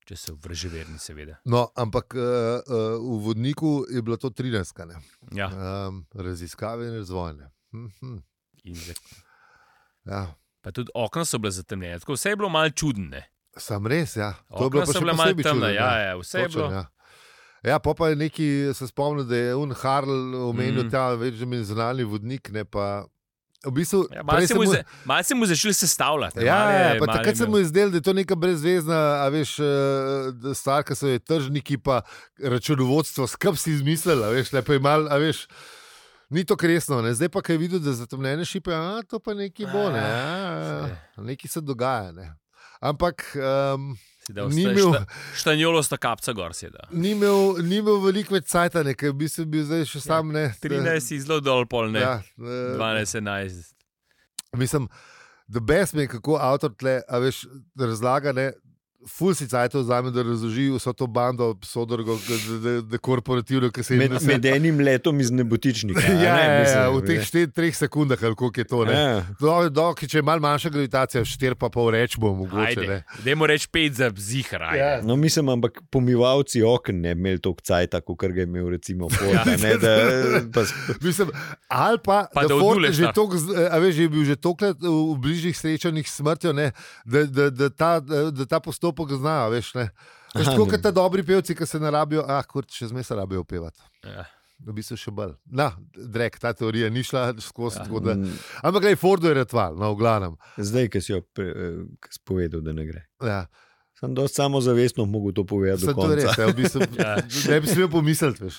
A: Če so vrževerni, seveda.
B: No, ampak uh, uh, v vodniku je bilo to 13, ne?
A: Ja,
B: um, raziskave in razvojne. Mhm.
A: in za,
B: Ja.
A: pa tudi okna so bila zatemnjena, tako vse je bilo malo čudno.
B: Sam res, ja. To je bilo
A: Okna
B: pa
A: so
B: še
A: bila malo
B: posebej
A: temna,
B: čudno,
A: ja, ja, vse je
B: Točno,
A: bilo.
B: Ja. Ja, pol pa je neki, se spomnim, da je un Harl omenil
A: Mm.
B: mm. ta večdimenzionalni vodnik. Ne, pa, v bistvu,
A: Ja,
B: prej
A: malo se
B: sem
A: mu,
B: mu-
A: za- malo se mu začeli sestavljati. ne,
B: Ja,
A: malo je-
B: ja, pa
A: malo je
B: takrat se
A: imel-
B: mu je zdelo, da je to neka brezvezna, a veš, eh, da stvar, ki so jo tržniki, pa računovodstvo, skrb si izmislili, a veš, lepo je mal, a veš. Ni to resno, ne? zdaj pa je videl, da zatemnjene šipe, a to pa nekaj bo, ne?
A: Ja.
B: a, nekaj se dogaja. Ne? Ampak um,
A: Si dal
B: Ni
A: sta-
B: imel-
A: šta- Štanjolo sta kapca gor seda.
B: ni, imel, ni imel veliko več cajta, ne, ker bi se bil zdaj še sam. Ne,
A: 13 Ja. je zelo dol, pol ne.
B: ja,
A: Ja,
B: eh,
A: 12, 11.
B: Mislim, da bes mi je, kako avtor tle, a veš, razlaga ne. Ful si cajt vzame, da razloži vso to bando, sodrgo, da, da, da korporativno, ki se jim
C: Med, med enim letom iz nebotičnika. a
B: [LAUGHS] Ja,
C: ne,
B: ja,
C: mislim,
B: ja, v teh štirih, treh sekundah, ali koliko je to. ne.
C: Ja.
B: Do, do, če je malo manjša gravitacija, štir pa pol reč bo mogoče.
A: Ajde,
B: ne.
A: dajmo reči 5 za zihar. Ja.
C: No, mislim, ampak pomivalci okn ne bi imeli toliko cajta, kot ga je imel
B: [LAUGHS]
C: recimo Ford. a ne, da, pa, s-
B: Mislim, ali pa,
A: Pa da
B: da, da Ford je
A: oduleš,
B: že
A: da.
B: toliko, z- eh, a veš, že je bil že tokrat v bližnjih srečanjih s smrtjo, ne, da, da, da, ta, eh, da ta postopek zna, a veš. Ne. Veš,
C: Aha,
B: tako
C: ne.
B: kot ta dobri pevci, ki se ne rabijo, ah, kurč, še zmeraj se rabijo pevati.
A: Ja.
B: V bistvu še bolj. Na, drek, ta teorija ni šla skozi.
A: Ja.
B: tako da-
C: Mm,
B: Ampak gledaj, Fordu je retval, no, v glavnem.
C: zdaj, ki si jo pre, eh, ke si povedal, da ne gre.
B: Ja.
C: Sem dosti samozavestno mogel to povedati.
B: Sem
C: do
B: to
C: konca.
B: res, ja, v bistvu,
A: [LAUGHS] Ja.
B: ne bi smel pomisliti. Veš.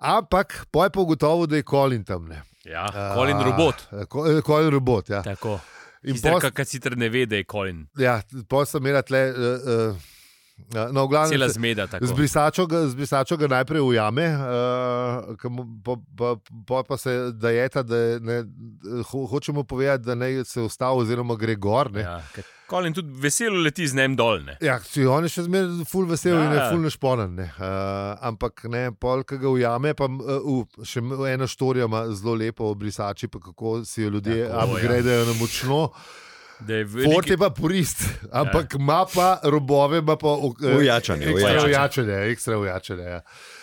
B: Ampak poj pa ugotovil, da je Colin tam. ne.
A: Ja, Kolin robot.
B: A, Ko- eh, Colin robot, ja.
A: Tako.
B: Ah. In
A: Zdaj,
B: pol-
A: kak sicer ne ve, da je Kolin.
B: Ja, pol sem imel tle. Uh, uh, no, v glavnem,
A: Cela
B: se-
A: zmeda. tako.
B: Z brisačo, ga, z brisačo ga najprej ujame, uh, pa, pa, pa, pa se dajeta, da je, ne, ho, hočemo povedati, da naj se ustavi, oziroma gre gor. Ne. Ja.
A: Ja, ker Colin tudi veselo leti z njim dolne.
B: Ja, si on je še zmeraj ful vesel ja. in je
A: Ja.
B: ful nešponen. Ne. Uh, ampak ne, pol, ki ga ujame, pa uh, uh, še m- eno štorijo ima zelo lepo o brisači, pa kako si jo ljudje
A: Tako, ja.
B: upgradejo ja. na močno.
A: Da je
B: Fort
A: veliki, Ja.
B: je pa purist, ampak ima pa robove, ima pa ok- eh,
C: Ujačanje,
B: Ekstra
A: ujačanje.
B: ujačanje, ekstra ujačanje. Ja.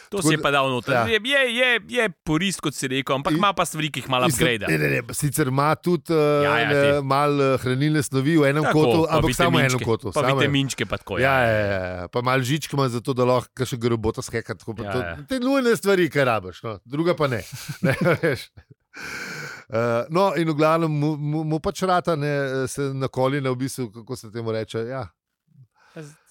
A: to
B: tako
A: si je
B: da-
A: pa dal noter.
B: ja.
A: Je, je, je, je porist, kot si rekel, ampak
B: In-
A: ima pa stvari, ki jih malo
B: Mislim,
A: upgrade.
B: ne, ne, ne, Sicer ima tudi ja,
A: Ja, ja,
B: ja,
A: te.
B: malo hranilne snovi v enem tako, kotu,
A: pa
B: ampak samo v enem
A: vitaminčke,
B: kotu.
A: Pa
B: samo en-
A: vitaminčke, pa tako.
B: Ja, ja, ja, ja, pa malo žičk ima za to, da lahko še robota skeka. Tako,
A: Ja,
B: ja, to,
A: ja.
B: te nujne stvari, kar rabiš, no, druga pa ne. [LAUGHS] ne veš. Uh, no, in v glavnem mu, mu, mu pač rata, ne, se na kolina, v bistvu, kako se temu reče. Ja.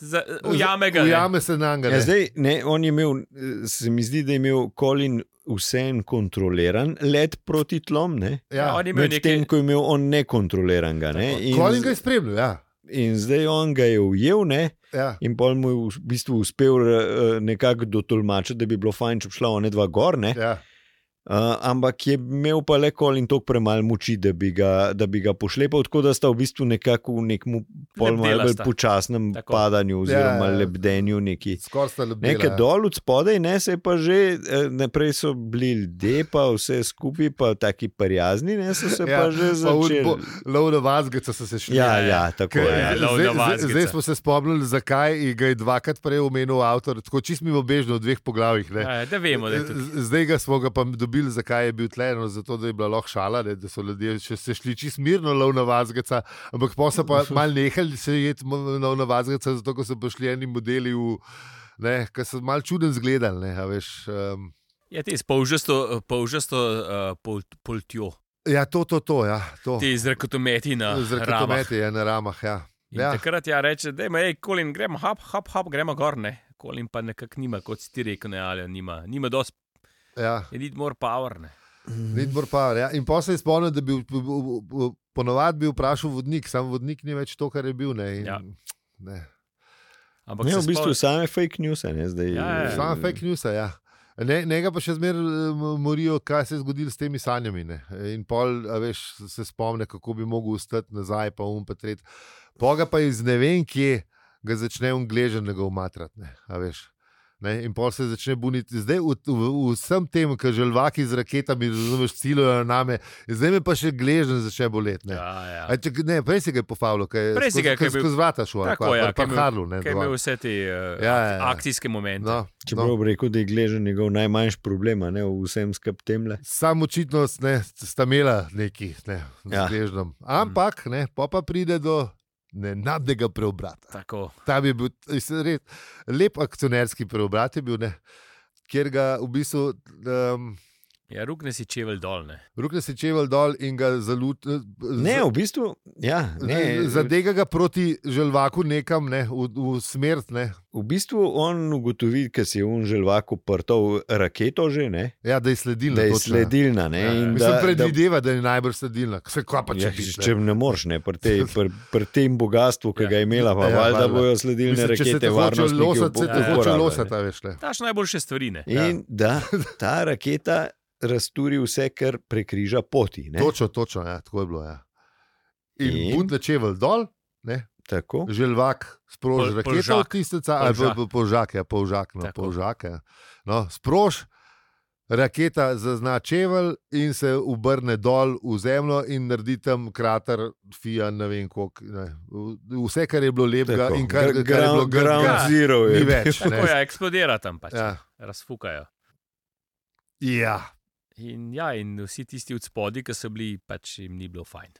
A: Za- Ujame ga. ne.
B: Ujame se na njega.
C: Ja,
B: ne.
C: zdaj, ne, on je imel, eh, se mi zdi, da je imel Colin vseen kontroliran let proti tlom, ne?
A: Ja, on je imel
C: medtem
A: nekaj.
C: ko je imel on nekontroliranega. Ne? In,
B: Kolin ga je spremljal, ja.
C: in zdaj on ga je ujel, ne?
B: ja.
C: in pol mu je v bistvu uspel eh, nekako dotolmačiti, da bi bilo fajn, če bi šla ona dva gor. Ne?
B: Ja.
C: Uh, ampak je imel pa le Colin toliko premalo moči, da bi ga, da bi ga pošlepal, tako da sta v bistvu nekako v nekem pol malo bolj
A: Lebdelasta.
C: počasnem
A: Tako.
C: padanju oziroma
B: Ja, ja.
C: lebdenju neki.
B: Skoraj sta ljubila. ja.
C: Nekaj dol od spodaj, ne se je pa že, eh, ne, prej so bili ljudje, pa vse skupaj, pa taki prijazni, ne so se ja, pa že začeli.
B: Lovno vazgeca so se šli.
C: Ja,
A: ja.
C: ja, tako
B: Ker-
A: ja,
C: je.
A: lovna
B: zdaj- zdaj,
A: vazgeca.
B: zdaj smo se spomnili, zakaj in ga je dvakrat prej omenil avtor, tako čist mimo bežno v dveh poglavjih. Ne.
A: Ja, da vemo, da je to.
B: Z- Zdaj ga smo ga pa dobili, zakaj je bil tleno, zato da je bila lahko šala, ne, da so ljudje še se šli čist mirno lovno vazgeca, ampak pa so pa mal nehali se jeti mo- lovno vazgeca, zato ko so prišli eni modeli v, ne, ki so mal čuden zgledali, ne, a veš. Um,
A: Ja, ti s polžasto, polžasto uh, pol, poltjo,
B: ja, to, to, to, ja, to.
A: ti ja, z rakotometi na
B: Z
A: rakotometi.
B: raketometi je na ramah, ja.
A: Ja.
B: Ja.
A: Takrat ja reče, da je kolin, gremo, hop, hop, hop, gremo gor. Ne. Kolin pa nekako nima, kot si ti rekel, ne, ali nima, nima dosti,
B: ja.
A: je need more power. Ne.
B: Lidbor Power. Ja. In potem se je spomnil, da bi v- v- v- v- ponovadi bil vprašal vodnik, sam vodnik ni več to, kar je bil. Ne, in,
A: Ja.
B: ne.
A: Ampak
C: Ne,
A: se
C: v bistvu
A: spomni-
C: same fake news, ne zdaj.
A: Ja, ja.
B: Samo fake news, ja. Ne, njega pa še zmeraj eh, morijo, kaj se je zgodilo s temi sanjami. Ne? In pol, a veš, se spomne, kako bi mogel ustati nazaj, pa um, pa tret. Poga pa iz ne vem kje, ga začne ungleženega umatrati, ne, a veš. Ne, in pol se začne buniti. Zdaj, v, v, v vsem tem, kar želvaki z raketami, razumeš, ciljajo na me, zdaj me pa še gležen začne boleti. Ne.
A: Ja, ja.
B: A, če, ne, prej si ga je pofavljal, kaj
A: Prej si ga je, ko je bil-
B: skozi vrata šel, ali
A: Tako,
B: pa,
A: ja,
B: ja,
A: ko
B: pa
A: je bil-
B: Harlu. Ne,
A: Kaj
B: dol.
A: je vse te uh,
B: Ja, ja, ja.
A: akcijske momente?
B: no,
C: Čeprav bi rekel, da je gležen njegov najmanjši problem, a ne v vsem skup temle.
B: Sam očitno ne, sta imela neki ne,
C: Ja.
B: ja. zgležnem. Ampak ne, pol pa pride do nenadnega preobrata.
A: Tako.
B: Tam je bil res res lep akcionarski preobrat, je bil, ne, kjer ga v bistvu um,
A: Ja, rukne si čevelj dol. Ne.
B: rukne se čevelj dol in ga zalut.
C: Ne, v bistvu, ja, ne,
B: Ne, Zadega ga proti želvaku nekam, ne, v, v smrt. Ne.
C: v bistvu on ugotovi, ker si je on želvak uprtal raketo že, ne,
B: Ja, da je sledilna.
C: da je
B: točno,
C: sledilna.
A: Ja, ja.
C: Ne, in
B: Mislim,
C: da, da,
B: predvideva, da je najbrž sledilna. Se kva pa če
C: ja,
B: bi
C: če ne moreš, ne, pri, tej, pri, pri tem bogatstvu, ki
A: Ja.
C: ja. ga je imela,
B: Ja,
C: pa ja, valjda
B: valjda.
C: bojo sledilne
B: Mislim, če se te
C: rakete,
B: hoče
C: varnostniki
B: losati, se
C: upo-
B: te hoče
C: uporabljali.
B: losati, a veš. Ne.
A: Daš najboljše stvari. Ne. Ja.
C: In da ta raketa razturi vse, kar prekriža poti. Ne?
B: Točno, točno, ja, tako je bilo. Ja. In,
C: In?
B: in butne čevelj dol,
C: Tako.
B: želvak sproži
A: Pol-
B: raketo,
A: polžak.
B: tisteca, ali
A: Polžak.
B: pa po, polžak, ja, polžak, no,
A: Tako.
B: polžak ja. no, sprož. Raketa zazna čevelj in se obrne dol v zemljo, in naredi tam krater, fija, ne vem koliko. ne. V- Vse, kar je bilo lepega,
C: Tako.
B: in kar,
C: Gr-
B: kar je bilo
C: ground, ground
B: grdo,
C: zero
B: ni
C: je.
B: več.
A: Tako
B: Ne.
A: ja, eksplodira tam pač. Ja.
B: Ja,
A: Razfukajo.
B: ja.
A: In, ja, in vsi tisti od spodaj, ki so bili, pač jim ni bilo fajn.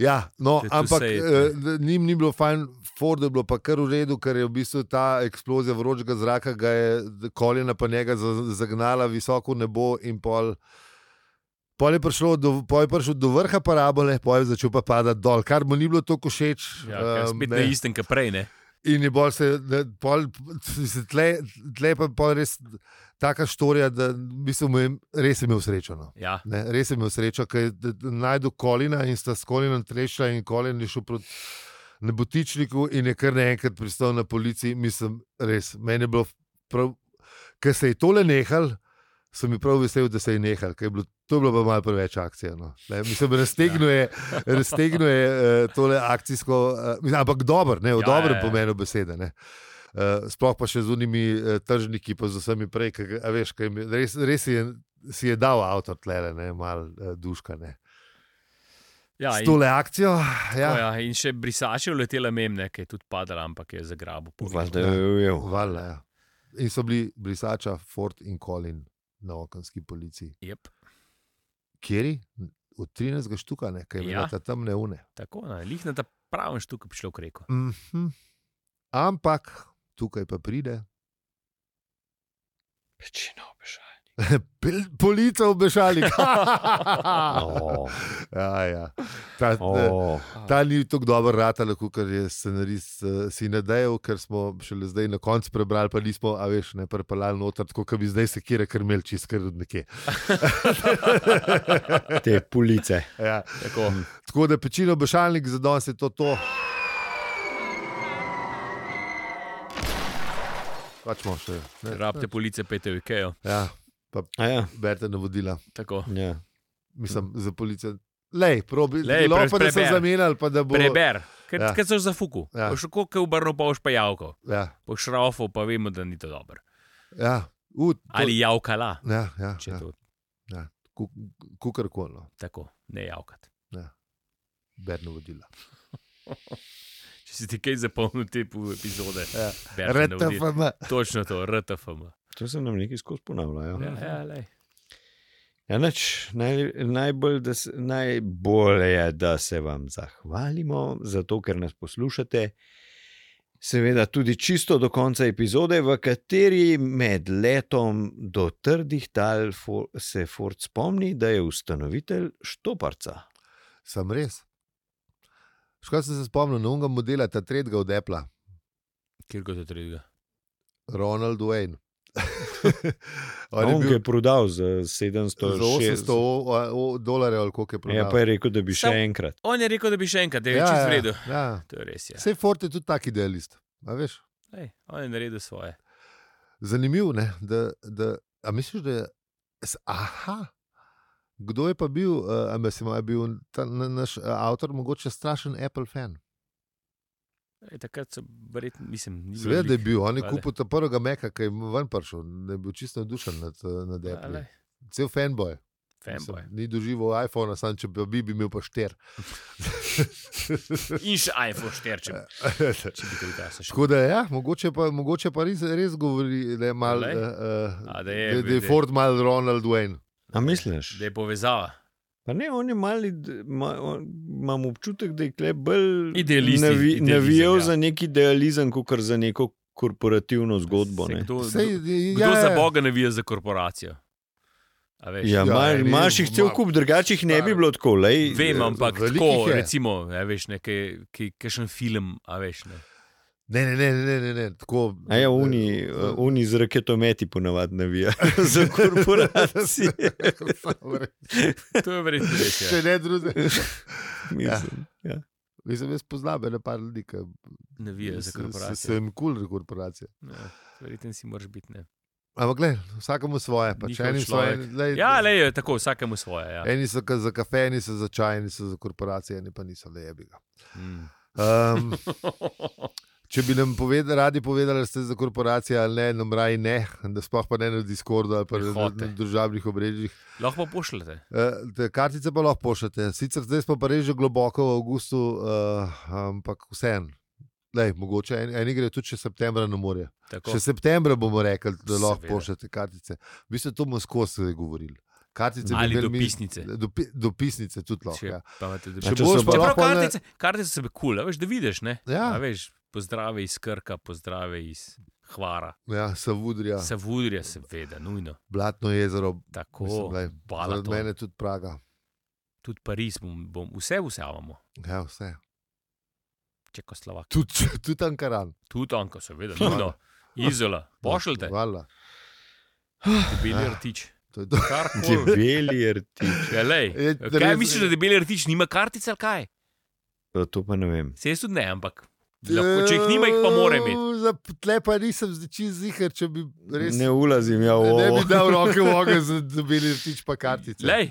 B: Ja, no,
A: Da tu
B: ampak
A: sejete.
B: eh, da njim ni bilo fajn, Fordu je bilo pa kar v redu, ker je v bistvu ta eksplozija vročega zraka, ga je d- koljena pa njega za- zagnala visoko v nebo in pol. Pol je, prišlo do, pol je prišel do vrha parabole, pol je začel pa padati dol, kar mu ni bilo tako všeč.
A: Ja, ker
B: em,
A: Spet
B: Um, ne.
A: na istem, kot prej. Ne.
B: In je bolj se, ne, pol, se tle, tle pa pol res taka štorija, da v bistvu mu je res imel srečo. No.
A: Ja.
B: Ne, res sem imel srečo, ker je d- d- našel kolina in sta s kolinom trešila in kolin je šel proti nebotičniku in je kar naenkrat pristal na policiji. Mislim, res, meni je bilo prav, ker se je tole nehal. Sem bil prav vesel, da se je nehal, ker je bilo, to je bilo pa malo preveč akcije. No. Ne, mislim, raztegnil je, raztegnil je uh, tole akcijsko, uh, mislim, ampak dober, ne, v
A: Ja,
B: ja, dobrem
A: ja, ja.
B: pomenu besede. Ne. Uh, sploh pa še z unimi uh, tržniki, pa z vsemi prej, ki ga- a veš, kaj mi res, res si je, si je dal avtor tlele, ne, malo uh, duška. Ne.
A: Ja,
B: S
A: in,
B: tole akcijo,
A: tako,
B: ja,
A: ja, in še brisače letela mem, ne, ki je tudi padala, ampak je zagrabil. po
C: Valjda
A: miru.
C: jo je ujel.
B: valjda. Ja. In so bili brisača, Ford in Colin na okenski policiji.
A: Jep,
B: Kjeri? Od 13 štuka, ne, kaj
A: Ja.
B: imata ja. tam neune.
A: tako, ne, lihna ta pravi štuk, ki bi šlo reko.
B: Mm -hmm. Ampak tukaj pa pride
C: Večina obešala.
B: pel- polica v bešali.
C: Oh,
B: [LAUGHS] ja, ja. Ta, oh.
C: oh.
B: Ta ni tako dobro ratala, kot je scenarist eh, si nadejal, ker smo šele zdaj na koncu prebrali, pa nismo, a veš, ne prepeljali noter, tako kot bi zdaj sekire krmel, čist kar od nekje.
C: Te pulice.
B: ja. [LAUGHS]
A: Tako,
B: Tako da pečino bošalnik za danes je to to. Pač imamo še. ne?
A: rabite police, pete v Ikejo.
B: Ja,
C: A Ja,
B: berete navodila.
A: Tako.
C: ja.
B: Mislim, za policijo. Lej, probi,
A: Lej,
B: Lej, bilo
A: pre-
B: pa, da sem
A: preber.
B: zamenjal, pa da bo.
A: Preber, ker
B: Ja.
A: ja. so za fuku.
B: Ja.
A: Ja. Boš tako, kot obrnil pa boš pa javko.
B: Ja,
A: Po šrafu pa vemo, da ni to dobro.
B: ja. U, to,
A: Ali javkala,
B: Ja, ja,
A: če
B: ja. no.
A: to
B: Kukar kolo,
A: tako, ne javkat.
B: berno vodila.
A: Če si ti kaj zapomnil te pol epizode,
B: Ja.
A: bereš na vodi.
B: RTFM.
A: Točno to, RTFM.
C: To se nam nekaj skozi ponavlja. Ja.
A: Ja, ja, lej.
C: Ja, nič, naj, najbolj, da se, najbolje je, da se vam zahvalimo, zato ker nas poslušate. Seveda, tudi čisto do konca epizode, v kateri med letom do trdih tal for, se Ford spomni, da je ustanovitelj Štoparca.
B: Sem res. Škoda sem se spomnil, novega modela, ta tretjega od Apple,
A: kjer kot je drugega.
B: Ronald Wayne. [LAUGHS] On je
C: On ga
B: bil
C: je prodal za
B: za 800
C: 700
B: o- o- dolarjev, ali koliko je prodal.
C: Ja, pa je rekel, da bi še
A: Sam-
C: enkrat.
A: On je rekel, da bi še enkrat, da je ja, čist vredno.
B: Ja, ja.
A: To je res. Ja.
B: Sej Ford je tudi tak idealist. a Veš?
A: Ej, on je naredil svoje.
B: zanimivo, ne, da, da a misliš, da je. s- Aha, kdo je pa bil, uh, mislim, a je bil ta na, naš eh, avtor, mogoče strašen Apple fan?
A: E, takrat so verjetno, mislim, ni bilo
B: Seveda da je
A: veliko,
B: bil, on je
A: vale.
B: kupil ta prvega meka, ki je ven prišel, da je bil čisto navdušen nad, eh, nad Apple.
A: Ale,
B: Cel fanboy.
A: fanboy.
B: Mislim, Ni doživel iPhone, sam če bi, bi bil pa šter.
A: In še iPhone 4, če,
B: [LAUGHS]
A: če bi tudi jaz šel.
B: Tako da, ja, mogoče pa, mogoče pa res, res govori, da je, mal, uh,
A: Glej.
B: uh,
A: A,
B: da
A: da
B: je,
A: je-
B: da je
A: da-
B: Ford mal Ronald Wayne.
C: A misliš?
A: Da je povezava.
C: Pa ne, on je mali, d- ma, on, imam občutek, da je klep bolj
A: Idealisti, idealizem,
C: navijal
A: ja.
C: za neki idealizem, kot za neko korporativno zgodbo.
A: Se
C: ne.
A: Kdo,
B: Sej,
A: Sej,
B: je-
A: kdo
B: ja,
A: za boga ne vije za korporacijo? A veš,
C: Ja,
B: Ja,
C: ima-
B: ne,
C: imaš jih cel
B: ma-
C: kup, drugačih ne bi
B: stari.
C: bilo tako. Lej, eh,
A: Vem, ampak
B: velikih
A: tako,
B: je.
A: recimo, a veš, nekaj, ki, kakšen film, a veš. Ne.
B: Ne, ne, ne, ne, ne, ne tako.
C: A ja, oni,
B: [LAUGHS] eh,
C: oni z raketometi ponavadi navijajo
B: [LAUGHS]
C: za korporacije.
A: To je verjetno
B: [LAUGHS]
A: res.
B: Če
A: Ja.
B: ne, druge.
C: Mislim. ja.
B: Mislim, jaz poznam ena par ljudi, ki
A: Ne vije za
B: se- se-
A: korporacijo.
B: sem kul cool korporacije.
A: Ja, verjetno si moraš biti. Ne.
B: Ampak gled, vsakemu svoje, pa če
A: Njihov
B: enim
A: človek.
B: svoje. Lej,
A: Ja, le je tako, vsakemu svoje. Ja.
B: Eni so ka- za kafe, eni so za čaj, eni so za korporacije, eni pa niso le jebiga.
A: Mm.
B: Um, če bi nam poveda, radi povedali, da ste za korporacije ali ne, nam raje ne, da sploh pa ne na Discordu ali pa
A: Ne
B: na,
A: hote.
B: na družabnih obrežjih.
A: Lahko pa pošljete.
B: Uh, te kartice pa lahko pošljete. Sicer zdaj smo pa res že globoko v avgustu, uh, ampak vseeno. Lej, mogoče en, eni grejo tudi še septembra na morje.
A: Tako.
B: Še septembra bomo rekli, da lahko
A: Seveda.
B: pošljete kartice. V bistvu to bomo skozi govorili. Kartice bi
A: Ali
B: imeli mi-
A: dopisnice.
B: Dopi, dopisnice tudi lahko.
A: Če,
B: Ja.
A: pa imate
B: Če
A: dobi-
C: če
B: boš
C: so-
B: pa
A: Čeprav
B: lahko.
A: kartice, kartice so bile kul, cool, veš, da vidiš. Ne?
B: Ja.
A: A Veš, pozdrave iz Krka, pozdrave iz Hvara,
B: Ne, ja, Savudrija,
A: ja. Savudrija, seveda, nujno.
B: Blatno jezero,
A: Tako,
B: mislim, lej, zaradi
A: Balaton,
B: mene tudi Praga.
A: tudi Pariz, bom, bom, vse vsavamo,
B: Ja, vse.
A: Čekoslovak,
B: Tudi [LAUGHS] tud Ankaran. No,
A: tudi Anka, seveda,
B: Ja.
A: nujno. Izola, pošljite,
B: Hvala.
A: bili
B: Ja. [LAUGHS]
A: rtič.
B: To je to.
A: Kar koli.
C: Debeli rti.
A: Ja, lej,
B: Je
A: kaj
B: res-
A: misliš, da debeli rtič nima kartice ali kaj?
C: To pa ne vem.
A: Se jaz tudi ne, ampak lahko, če jih nima, jih pa mora imeti.
B: Za tle pa nisem zdičil zihar, če bi res.
C: Ne ulazim, ja, v
B: ne
C: ovo.
B: bi dal roke v
C: [LAUGHS]
B: ogen, za- da bi tič pa kartice.
A: Lej,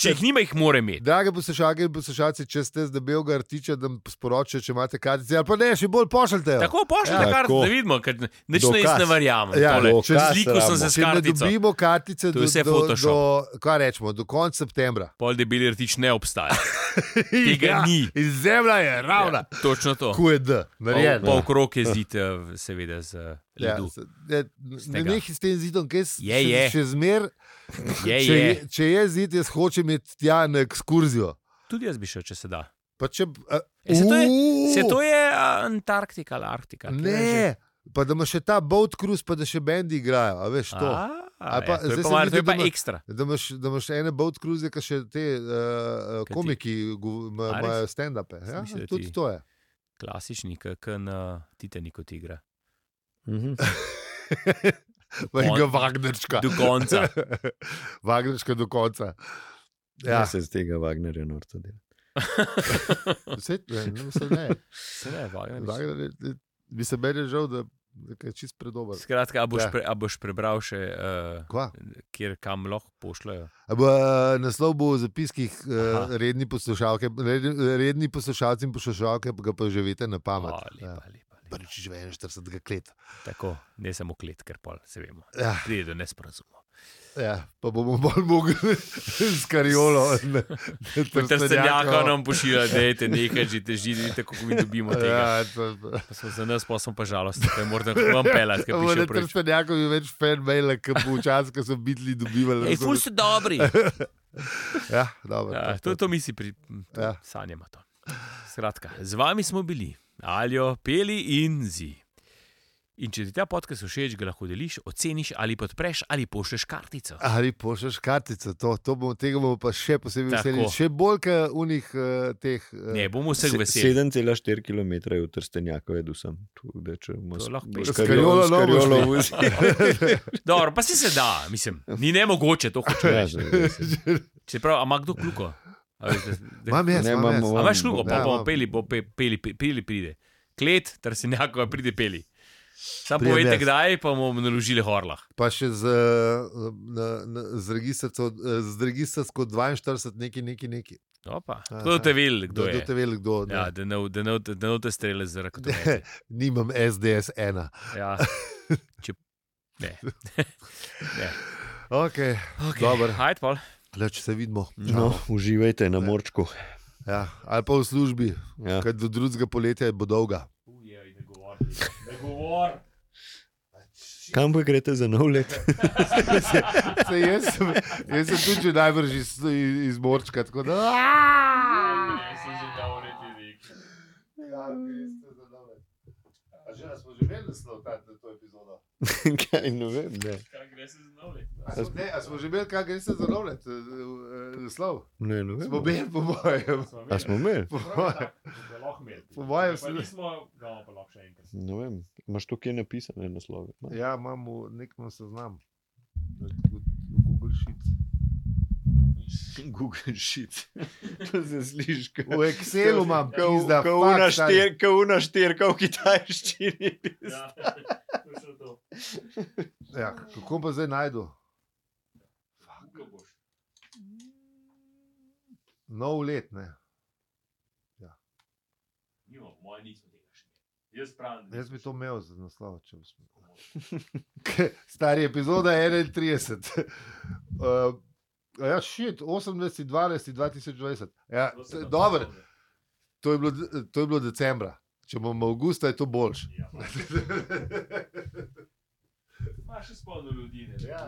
A: če jih nima, jih mora imeti.
B: Drage poslušalke in poslušalci, če ste z debelega artiča, da mi sporočite, če imate kartice, ali pa ne, še bolj pošljite. jo.
A: Tako pošljite
C: Ja.
A: ja, kartice,
C: Tako.
A: da vidimo, ker nič ne
C: Dokaz.
A: jaz ne verjamem.
B: Ja,
A: tole.
C: dokaz
A: Sliko
C: rabimo.
A: sem se s
B: Če ne
A: kartico.
B: dobimo kartice
A: To
B: do,
A: je vse
B: do,
A: Photoshop.
B: do, kaj rečemo, do konca septembra.
A: Pol debeli rtič ne obstaja. Tega ni.
B: In zemlja je ravna. Ja.
A: Točno to.
B: Ko je D,
A: Pol,
B: narejen.
A: pol krok je zid, eh, seveda, z eh,
B: Ja,
A: ledu.
B: se- ne, ne
A: Snega.
B: nehaj s tem zidom, ki
A: Je,
B: še,
A: je.
B: še zmer.
A: Je,
B: če,
A: je.
B: če je zid, jaz hočem iti tja na ekskurzijo.
A: Tudi jaz bi šel, če se da.
B: Pa če, a,
A: E, se to je-
B: Uuu,
A: Se to je a, Antarktika ali Arktika? kaj je Ja, že?
B: Ne, pa da ima še ta boat cruise, pa da še bendi igrajo, a veš to.
A: A, a,
B: Ali
A: ja,
B: pa-
A: to je
B: zdaj
A: pa,
B: sem
A: malo- to je
B: videl,
A: pa
B: da ima-
A: ekstra.
B: Da imaš, da imaš ene boat cruise, ki še te uh,
A: Kaj ti?
B: komiki gov- ima-
A: A res?
B: imajo stand-upe.
A: Sem
B: Ja,
A: mislil, da
B: tudi
A: ti-
B: to je.
A: Klasični, kot na Titaniku ti igra.
C: Mhm.
B: Pa je
A: On-
B: ga Wagnerčka.
A: Do
B: [LAUGHS]
A: konca.
B: Wagnerčka do konca.
C: Ja,
B: Ja,
C: se z tega Wagnerja norca dela.
B: vse ne, ne, mislim, ne.
A: Se ne, Wagner.
B: Wagner je- je- Bi se meni žal, da da je čist predober.
A: Skratka, a boš,
B: Ja.
A: pre, a boš prebral še, uh,
B: Kva?
A: kjer kam lahko pošljajo?
B: A bo, eh, Naslov bo v zapiskih eh,
A: Aha.
B: redni poslušalke, red- redni poslušalci in poslušalke, pa ga pa že veste na pamet.
A: O, lepa,
B: Ja.
A: lepa, lepa.
B: Prvič že 41 let.
A: Tako, ne samo klet, ker pol se vemo.
B: Ja.
A: Pride do nesporazuma.
B: Ja, pa bomo bolj mogli [LAUGHS] s kariolo. ne, ne
A: Trstenjaka
B: trstenjakom.
A: nam pošilja, da je nekaj že teži, vidite, kako mi dobimo tega.
B: Ja, to- to-
A: Pa smo za nas, pa smo pa žalostni, da je morda vam pelat, ker
B: Ampak
A: piše
B: Ne
A: preveč.
B: trstenjakom je več fanmaila, kot bo včasih, ko so bitli dobivali.
A: Ej, ful so dobri.
B: Ja, dobro.
A: Ja, to, to mi si pri ja.
B: Ja.
A: sanjamo. To. Skratka, z vami smo bili, alijo, peli in zi. In če ti ta podcast všeč, ga lahko deliš, oceniš ali podpreš ali pošleš kartico.
B: Ali pošlješ kartico, to, to bomo, tega bomo pa še posebej
A: Tako.
B: veseli. Še bolj kot unih uh, teh. Uh,
A: Ne bomo vseh
C: Se-
A: veseli.
C: 7,4 km je v Trstenjaku, jedu sem. Tu, da, če bomo
A: To
C: s-
A: lahko
C: s
A: peš.
C: kariolo-
B: S
C: s
B: kariolo
C: kariolo
B: bomo
C: vozi.
A: Dobro, pa si se da, mislim, ni ne mogoče to hoče
C: Ja,
A: reči.
C: se res.
A: Čeprav, ima kdo kljuko? A veš, da- da-
B: Imam jaz,
C: Ne,
B: imam
A: A
B: jaz.
C: imamo-
A: imaš kljuko,
B: Ja,
A: pa bomo
B: imam.
A: peli, bo pe, peli, pe, peli pride. Klet, ter si nekako pride peli. Sam
B: Prijem
A: povejte,
B: jaz.
A: kdaj pa bomo naložili horlah.
B: Pa še z, eh, na, na, z registrsko eh, z registrsko 42, neki, neki, neki.
A: Opa,
B: Aha.
A: Kdo te veli, kdo
B: Da
A: je?
B: boste vedeli, kdo ne.
A: Ja, da ne v- da ne v- da ne v te strele z raketom.
B: Nimam SDS ena. [LAUGHS]
A: Ja. Če... Ne.
B: Okay.
A: Okay.
B: Dobro.
A: Hajd, pol.
B: Le, če se vidimo.
C: [LAUGHS] No, uživajte na morčku.
B: Ja, ali pa v službi,
C: Ja.
B: ker do drugega poletja bo dolga.
A: Ujej, ne govori. Ne govori.
C: Kam pa greste za nov let? [LAUGHS]
B: Se, jaz, sem, jaz sem tudi že najbrž iz, iz Morčka. tako Da, Aaa!
A: Ne, sem že dal neki lik.
B: ja, res ste za nove. A že a smo že imeli naslov ta- na to epizodo.
C: Kaj, ne vem, ne.
A: Kaj gre se znovi?
B: A smo, ne, a smo že imeli, kaj greš za nove, eh, naslov.
C: Ne, ne
B: Smo
C: vem.
B: imeli, po mojem.
C: A smo imeli?
B: Po mojem. Po mojem Pa smo-
A: nismo, no, pa lahko še
B: [LAUGHS]
A: enkrat.
C: Ne vem. Imaš tu kje napisane naslove? Imaš?
B: Ja, imam v nekem seznamu. Google Sheet.
C: [LAUGHS] Google Sheet. [LAUGHS] To se sliši, kot
B: Ja, V Excelu [LAUGHS] imam, pizda,
C: Ko
B: fakt,
C: una
B: stari.
C: štir- ko una štirka v kitajščini.
A: Ja, [LAUGHS] to je to.
B: Ja, kako pa zdaj najdu?
A: Kako boš?
B: Nov let, ne.
A: Nima, moja nismo tega še. Jaz pravim,
B: Jaz bi to imel za naslov, če bi smel. [LAUGHS] Stari epizoda je 31. [LAUGHS] Uh, ja, šit, 18.12.2020. Ja, t- dobro, to je, bilo, de- to je bilo decembra. Če bomo avgusta, je to boljš. [LAUGHS]
A: Imaš še spolno ljudi, ne?
B: Ja,